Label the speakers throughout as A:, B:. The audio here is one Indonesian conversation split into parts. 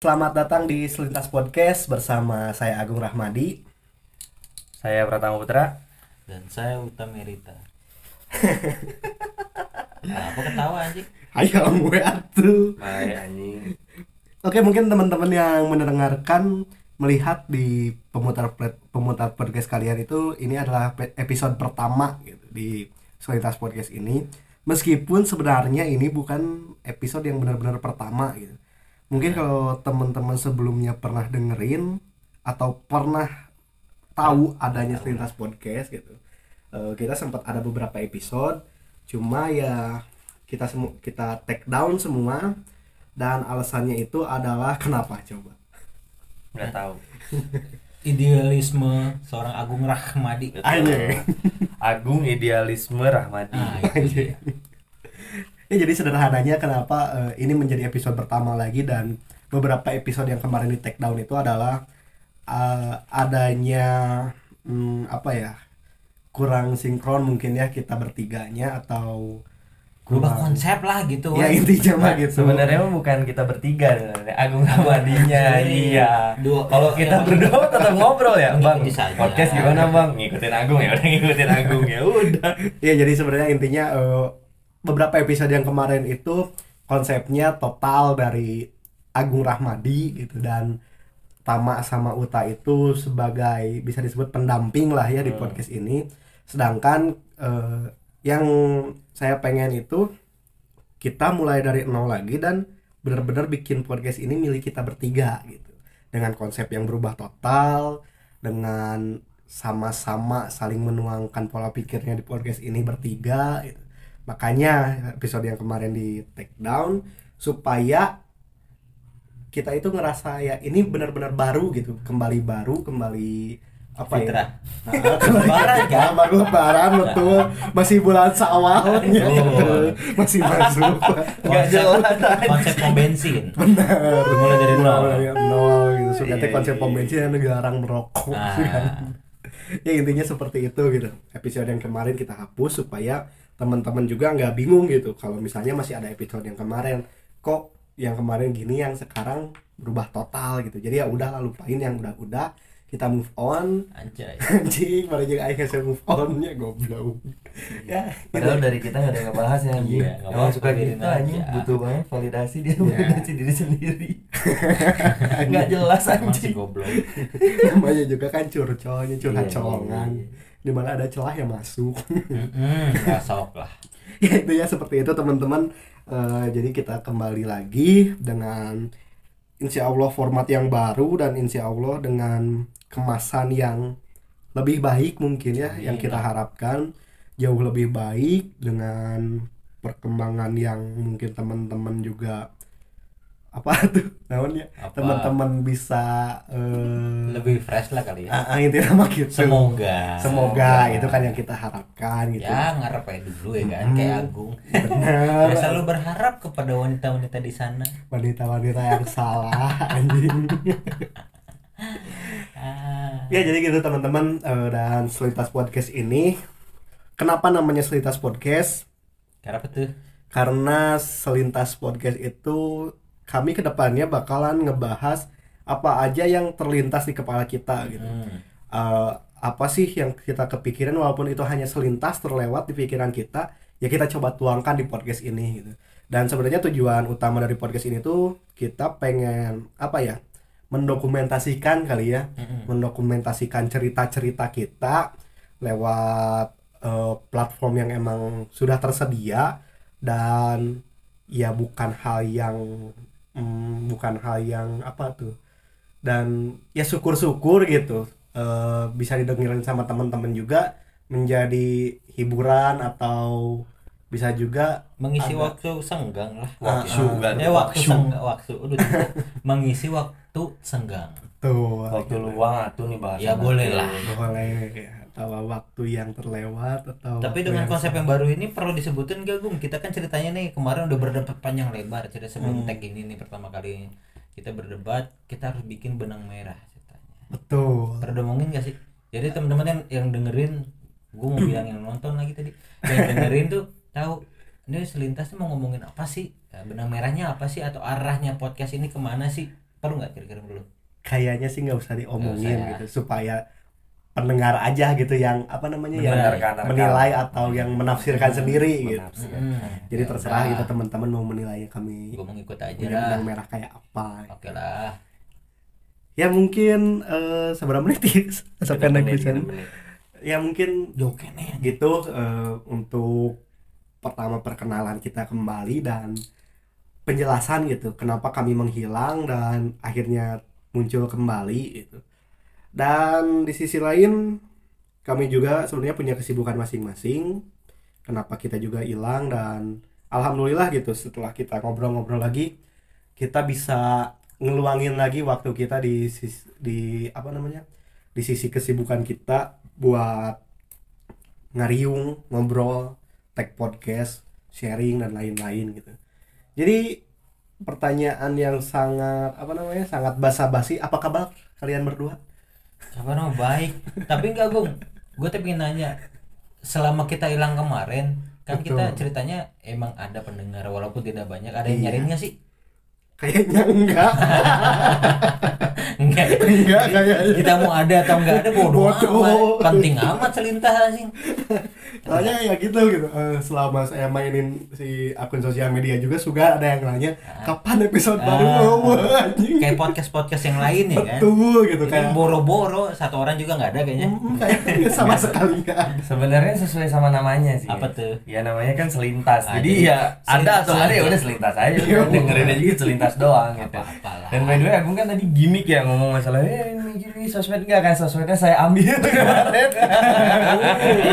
A: Selamat datang di Selintas Podcast bersama saya Agung Rahmadi.
B: Saya Pratama Putra.
C: dan saya Utam Merita. Nah, aku ketawa anjing.
A: Ayo gue atuh.
B: Hai anjing.
A: Oke, mungkin teman-teman yang mendengarkan melihat di pemutar plat- pemutar podcast kalian itu ini adalah pe- episode pertama gitu di Selintas Podcast ini. Meskipun sebenarnya ini bukan episode yang benar-benar pertama gitu. Mungkin kalau teman-teman sebelumnya pernah dengerin atau pernah tahu adanya Selintas Podcast gitu. Eh, kita sempat ada beberapa episode, cuma ya kita semu kita take down semua dan alasannya itu adalah kenapa coba?
B: Nggak tahu.
C: Idealisme seorang Agung Rahmadi.
A: Anjing.
B: Agung idealisme Rahmadi.
C: Nah, itu dia.
A: Ya jadi sederhananya kenapa eh, ini menjadi episode pertama lagi dan beberapa episode yang kemarin di take down itu adalah eh, adanya hmm, apa ya kurang sinkron mungkin ya kita bertiganya atau
C: Berubah
A: kurang
C: konsep lah gitu.
A: ya
C: woy.
A: intinya mah
B: Nah,
A: gitu
B: Sebenarnya mah bukan kita bertiga sebenarnya. Agung Rahmadinya.
C: Iya.
B: iya.
C: Dua.
B: Kalau kita
C: Iya.
B: berdua tetap ngobrol ya, Bang.
C: Bisa aja.
B: Podcast gimana, Bang? Ngikutin Agung ya, udah ngikutin Agung ya. Udah.
A: ya jadi sebenarnya intinya eh, beberapa episode yang kemarin itu konsepnya total dari Agung Rahmadi gitu dan Tama sama Uta itu sebagai bisa disebut pendamping lah ya di
B: Hmm.
A: podcast ini sedangkan eh, yang saya pengen itu kita mulai dari nol lagi dan benar-benar bikin podcast ini milik kita bertiga gitu dengan konsep yang berubah total dengan sama-sama saling menuangkan pola pikirnya di podcast ini bertiga gitu. makanya episode yang kemarin di take down supaya kita itu ngerasa ya ini benar-benar baru gitu kembali baru kembali apa
C: Fitrah.
A: ya Nah, kembali-
C: Lebaran, kan? Nah.
A: Ya, baru lebaran betul masih bulan sawal gitu.
C: Betul.
A: masih masuk
B: Nggak jelas aja.
C: Konsep, konsep pom bensin.
B: Mulai dari nol.
A: Ya, nol gitu sudah
B: Iya,
A: teh konsep
B: iya,
A: pom
B: iya.
A: bensin yang dilarang merokok
C: Nah,
A: kan. ya intinya seperti itu gitu episode yang kemarin kita hapus supaya teman-teman juga nggak bingung gitu kalau misalnya masih ada episode yang kemarin kok yang kemarin gini yang sekarang berubah total gitu jadi ya udah lah, lupain yang udah-udah kita move on
C: anjay.
A: anjing baru juga akhirnya saya move onnya goblok ya
B: Padahal dari kita nggak ada yang ngebahas ya anjing.
C: Iya, nggak
B: Emang
C: apa-apa,
B: suka
C: biarin
B: kita anjing
C: aja.
B: butuh banget validasi dia
A: Iya.
B: validasi diri sendiri. Nggak jelas
C: Emang si
B: anjing.
C: goblok.
A: namanya juga kan curcolnya curhat
B: Iya,
A: colongan
B: iya,
A: dimana ada celah ya masuk
C: Mm-mm, nggak sok lah.
A: ya itu ya seperti itu teman-teman Eh, jadi kita kembali lagi dengan insya Allah format yang baru dan insya Allah dengan kemasan yang lebih baik mungkin ya yang kita harapkan jauh lebih baik dengan perkembangan yang mungkin teman-teman juga apa tuh namanya
C: Apa?
A: teman-teman bisa eh,
C: Lebih fresh lah kali ya.
A: Ah, ah, intinya mah gitu.
C: Semoga.
A: Semoga itu kan yang kita harapkan gitu.
C: Ya ngarep aja dulu ya kan kayak Agung.
A: Benar.
C: Ya selalu berharap kepada wanita-wanita di sana.
A: Wanita-wanita yang salah anjing.
C: Ah.
A: ya jadi gitu teman-teman Eh, dan Selitas Podcast ini kenapa namanya Selitas Podcast?
C: Karena apa tuh?
A: Karena Selintas Podcast itu kami kedepannya bakalan ngebahas apa aja yang terlintas di kepala kita gitu.
C: Hmm.
A: eh, apa sih yang kita kepikiran walaupun itu hanya selintas terlewat di pikiran kita ya kita coba tuangkan di podcast ini gitu dan sebenarnya tujuan utama dari podcast ini tuh kita pengen apa ya mendokumentasikan kali ya
C: Mm-mm.
A: mendokumentasikan cerita-cerita kita lewat eh, platform yang emang sudah tersedia dan ya bukan hal yang mm, bukan hal yang apa tuh dan ya syukur-syukur gitu eh, bisa didengerin sama teman-teman juga menjadi hiburan atau bisa juga
C: mengisi
A: Ada.
C: waktu senggang lah
B: Waktu
A: Ah, ah.
B: enggak
C: eh waktu senggang waktu Aduh, tuh. mengisi waktu senggang
A: tuh
B: Waktu
A: gitu.
B: luang atuh nih bahasa.
C: Ya, boleh lah.
A: boleh atau waktu yang terlewat atau
C: tapi
A: waktu
C: dengan
A: yang-
C: konsep yang baru ini perlu disebutin gak Gung kita kan ceritanya nih kemarin udah berdebat panjang lebar cerita sebelum
A: Hmm.
C: tag ini nih pertama kali kita berdebat kita harus bikin benang merah ceritanya
A: betul
C: pernah diomongin gak sih jadi teman-teman yang yang dengerin gue mau bilang yang nonton lagi tadi yang dengerin tuh tahu Ya, ini selintas tuh mau ngomongin apa sih Nah, benang merahnya apa sih atau arahnya podcast ini kemana sih perlu nggak kira-kira perlu
A: kayaknya sih nggak usah diomongin
C: Nggak usah ya.
A: gitu supaya pendengar aja gitu yang apa namanya yang
D: Mendengarkan,
A: menilai atau yang menafsirkan sendiri gitu.
D: Menafsirkan.
A: Jadi
C: Ya
A: terserah
C: udah.
A: gitu teman-teman mau menilainya kami
C: gue mau ngikut aja
A: punya
C: lah
A: benang merah kayak apa.
C: oke lah
A: Ya mungkin eh seberapa menit ya? sampai
D: Tiga
A: naik
D: menit, gitu?
A: di sana.
D: tiga menit.
A: Ya mungkin
C: joke nih
A: gitu eh, untuk pertama perkenalan kita kembali dan penjelasan gitu kenapa kami menghilang dan akhirnya muncul kembali gitu. Dan di sisi lain kami juga sebenarnya punya kesibukan masing-masing. Kenapa kita juga hilang dan alhamdulillah gitu setelah kita ngobrol-ngobrol lagi kita bisa ngeluangin lagi waktu kita di sis- di apa namanya? di sisi kesibukan kita buat ngariung, ngobrol, tag podcast, sharing dan lain-lain gitu. Jadi pertanyaan yang sangat apa namanya? sangat basa-basi, apa kabar kalian berdua?
C: kabar mah baik tapi enggak gung gue tuh pengen nanya selama kita hilang kemarin kan
A: Betul.
C: kita ceritanya emang ada pendengar walaupun tidak banyak ada yang
A: Iya.
C: nyariin nggak sih
A: Kayaknya enggak.
C: enggak ya?
A: enggak kayaknya.
D: gitu.
C: kita mau ada atau enggak ada bodoh
A: Bodoh.
C: amat penting amat selintah anjing
A: Soalnya ya gitu gitu. Eh, selama saya mainin si akun sosial media juga suka ada yang nanya kapan episode baru
C: Ah.
A: mau anjing.
C: kayak kan? podcast podcast yang lain ya kan
A: Betul gitu
C: Ini
A: kayak.
C: boro-boro satu orang juga nggak ada kayaknya
D: Hmm.
A: Mm, Kayaknya sama sekali enggak ada.
D: Sebenarnya sesuai sama namanya sih.
C: Apa tuh?
D: Ya namanya kan selintas.
C: Ah, jadi
D: Jadi ya ada
C: selintas
D: atau nggak ada ya
C: aja.
D: udah selintas aja. Udah dengerin aja gitu selintas doang gitu.
C: Apa-apalah.
D: Dan by the way Agung kan tadi gimmick ya ngomong masalah eh ini gini sosmed enggak kan sosmednya saya ambil kemarin.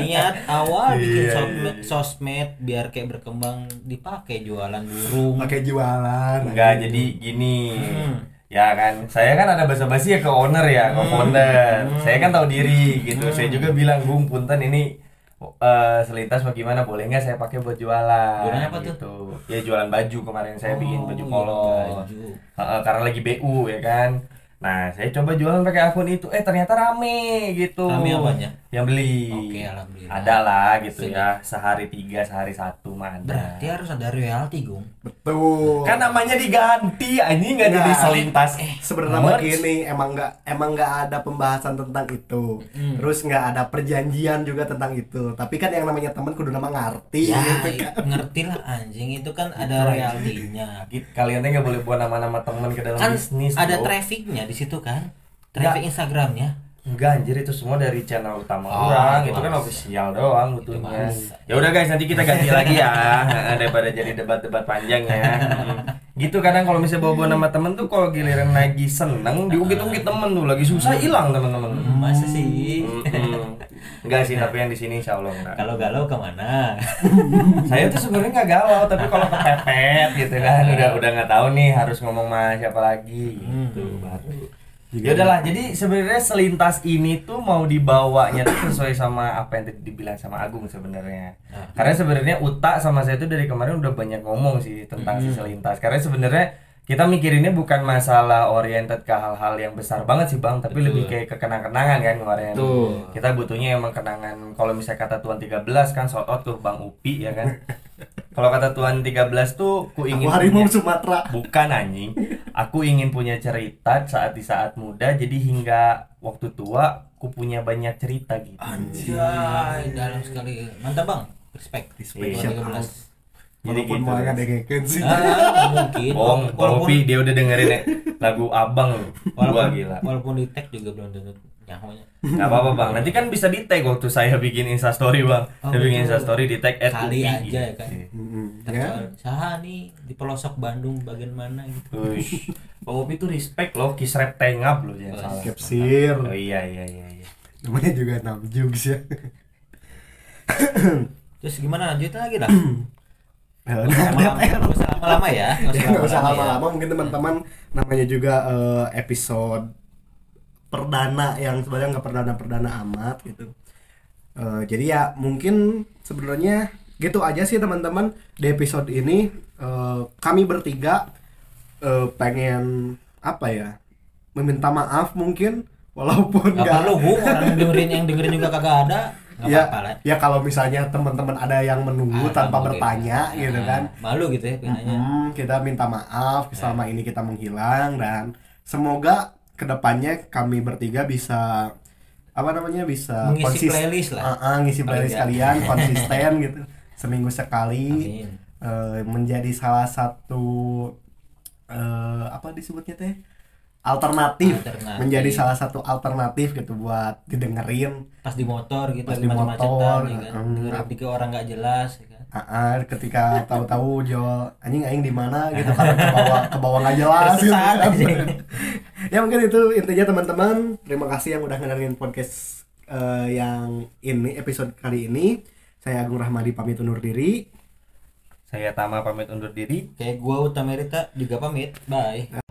C: niat awal bikin
D: Iya, iya,
C: sosmed,
D: iya.
C: sosmed biar kayak berkembang dipakai jualan burung
A: Pakai jualan.
D: Enggak jadi gini.
C: Hmm.
D: Ya kan, saya kan ada basa-basi ya ke owner ya, ke founder.
C: Hmm.
D: Saya kan tahu diri gitu. Saya juga bilang, "Bung, punten ini eh, selintas bagaimana boleh nggak saya pakai buat jualan?"
C: Jualan apa tuh?
D: gitu. Ya jualan baju kemarin saya bikin
C: Oh,
D: baju
C: iya,
D: polos.
C: baju.
D: Heeh, karena lagi BU ya kan. Nah, saya coba jualan pakai akun itu. Eh, ternyata rame gitu.
C: Rame apanya?
D: Yang beli.
C: Oke, alhamdulillah.
D: Ada lah gitu
C: Sudah.
D: ya. Sehari tiga, sehari satu mah ada.
C: berarti harus ada royalti gung
A: Betul.
D: Kan namanya diganti, anjing nggak jadi
A: Nah.
D: selintas.
A: sebenarnya mah
D: Merch.
A: gini emang nggak emang nggak ada pembahasan tentang itu terus nggak ada perjanjian juga tentang itu tapi kan yang namanya teman kudu nama ngerti
D: Iya,
C: ya
A: gitu kan.
C: ngerti lah anjing itu kan ada royaltinya
D: Git, Kalian tuh nggak boleh buat nama-nama teman ke dalam
C: kan
D: bisnis.
C: ada
D: bro.
C: trafficnya di situ kan traffic Instagramnya
D: Enggak anjir itu semua dari channel utama
C: Oh,
D: orang,
C: itu
D: itu kan
C: masa.
D: official doang
C: Itu
D: butuhnya.
C: masa.
D: Ya udah guys, nanti kita ganti lagi ya Nah, daripada jadi debat-debat panjang ya. Hmm. Gitu kadang kalau misalnya bawa-bawa nama temen tuh kalau giliran lagi seneng diungkit-ungkit temen tuh lagi susah hilang temen-temen.
C: masa sih
D: Mm-mm. Enggak sih, tapi yang di sini insya Allah enggak.
C: Hmm. kalau galau kemana
D: saya tuh sebenarnya nggak galau tapi kalau kepepet gitu kan udah udah nggak tahu nih harus ngomong sama siapa lagi gitu baru ya udahlah jadi sebenarnya selintas ini tuh mau dibawanya tuh sesuai sama apa yang tadi dibilang sama Agung sebenarnya karena sebenarnya Uta sama saya tuh dari kemarin udah banyak ngomong sih tentang si selintas karena sebenarnya kita mikirinnya bukan masalah oriented ke hal-hal yang besar banget sih bang tapi lebih kayak ke kenang-kenangan kan kemarin kita butuhnya emang kenangan kalau misalnya kata tuan 13 kan shout out tuh bang Upi ya kan kalau kata tuan 13 tuh ku ingin
A: aku harimau
D: punya-
A: Sumatera
D: bukan anjing aku ingin punya cerita saat di saat muda jadi hingga waktu tua ku punya banyak cerita gitu
C: Anjay, Iya, dalam sekali mantap bang respect
A: Respect. Iya.
C: Dua tiga belas.
D: jadi
A: walaupun
D: gitu
A: mau nggak dengekin sih
C: Ah, nggak mungkin
D: bohong Bang
C: walaupun
D: Upi dia udah dengerin ya, lagu abang loh. gua
C: walaupun,
D: gila
C: walaupun di tag juga belum tentu nyahonya
D: Gak apa-apa bang, nanti kan bisa di tag waktu saya bikin instastory bang
C: Oh,
D: Saya bikin
C: betul.
D: instastory di tag at
C: Kali
D: Upi
C: aja
D: gitu.
C: ya kan.
A: Mm-mm. ya
C: yeah. saha nih di pelosok Bandung bagian mana gitu
D: Ush, Bang Upi tuh respect loh, kisrep tengap loh jangan
C: Oh,
D: salah.
A: kepsir
D: Oh iya iya iya. iya.
A: namanya juga namjung sih ya
C: terus gimana lanjutin lagi dah
A: Nah,
C: lama-lama nggak usah lama-lama ya
A: nggak usah
C: lama-lama ya.
A: lama-lama mungkin teman-teman namanya juga eh, episode perdana yang sebenarnya nggak perdana-perdana amat gitu Eh, jadi ya mungkin sebenarnya gitu aja sih teman-teman di episode ini eh, kami bertiga eh, pengen apa ya meminta maaf mungkin walaupun
C: Gak
A: nggak
C: perlu gue orang yang dengerin yang dengerin juga kagak ada nggak
A: ya,
C: apa-apa lah
A: ya kalau misalnya teman-teman ada yang menunggu
C: Ah,
A: tanpa
C: mungkin.
A: bertanya
C: Ah,
A: gitu kan
C: malu gitu ya penanya
A: Hmm, kita minta maaf
C: Iya.
A: selama ini kita menghilang dan semoga kedepannya kami bertiga bisa apa namanya bisa
C: mengisi
A: konsis-
C: playlist lah
A: Ah, ah, ngisi
C: Paling
A: playlist
C: nggak.
A: kalian konsisten gitu seminggu sekali
C: Amin.
A: eh, menjadi salah satu eh, apa disebutnya teh alternatif,
C: Alternatif.
A: menjadi salah satu alternatif gitu buat didengerin
C: pas di motor gitu
A: Pas
C: lagi
A: di motor,
C: macet-macetan ya kan
A: mm.
C: dengerin tiga orang nggak jelas ya kan
A: Ah, ah, ketika tahu-tahu jual anjing aing di mana gitu karena ke bawah ke bawah nggak jelas gitu.
C: Tersesat, anjing.
A: ya mungkin itu intinya teman-teman terima kasih yang udah ngedengerin podcast eh, yang ini episode kali ini saya Agung Rahmadi pamit undur diri
D: Saya Tama pamit undur diri.
C: kayak gua Utamerita juga pamit bye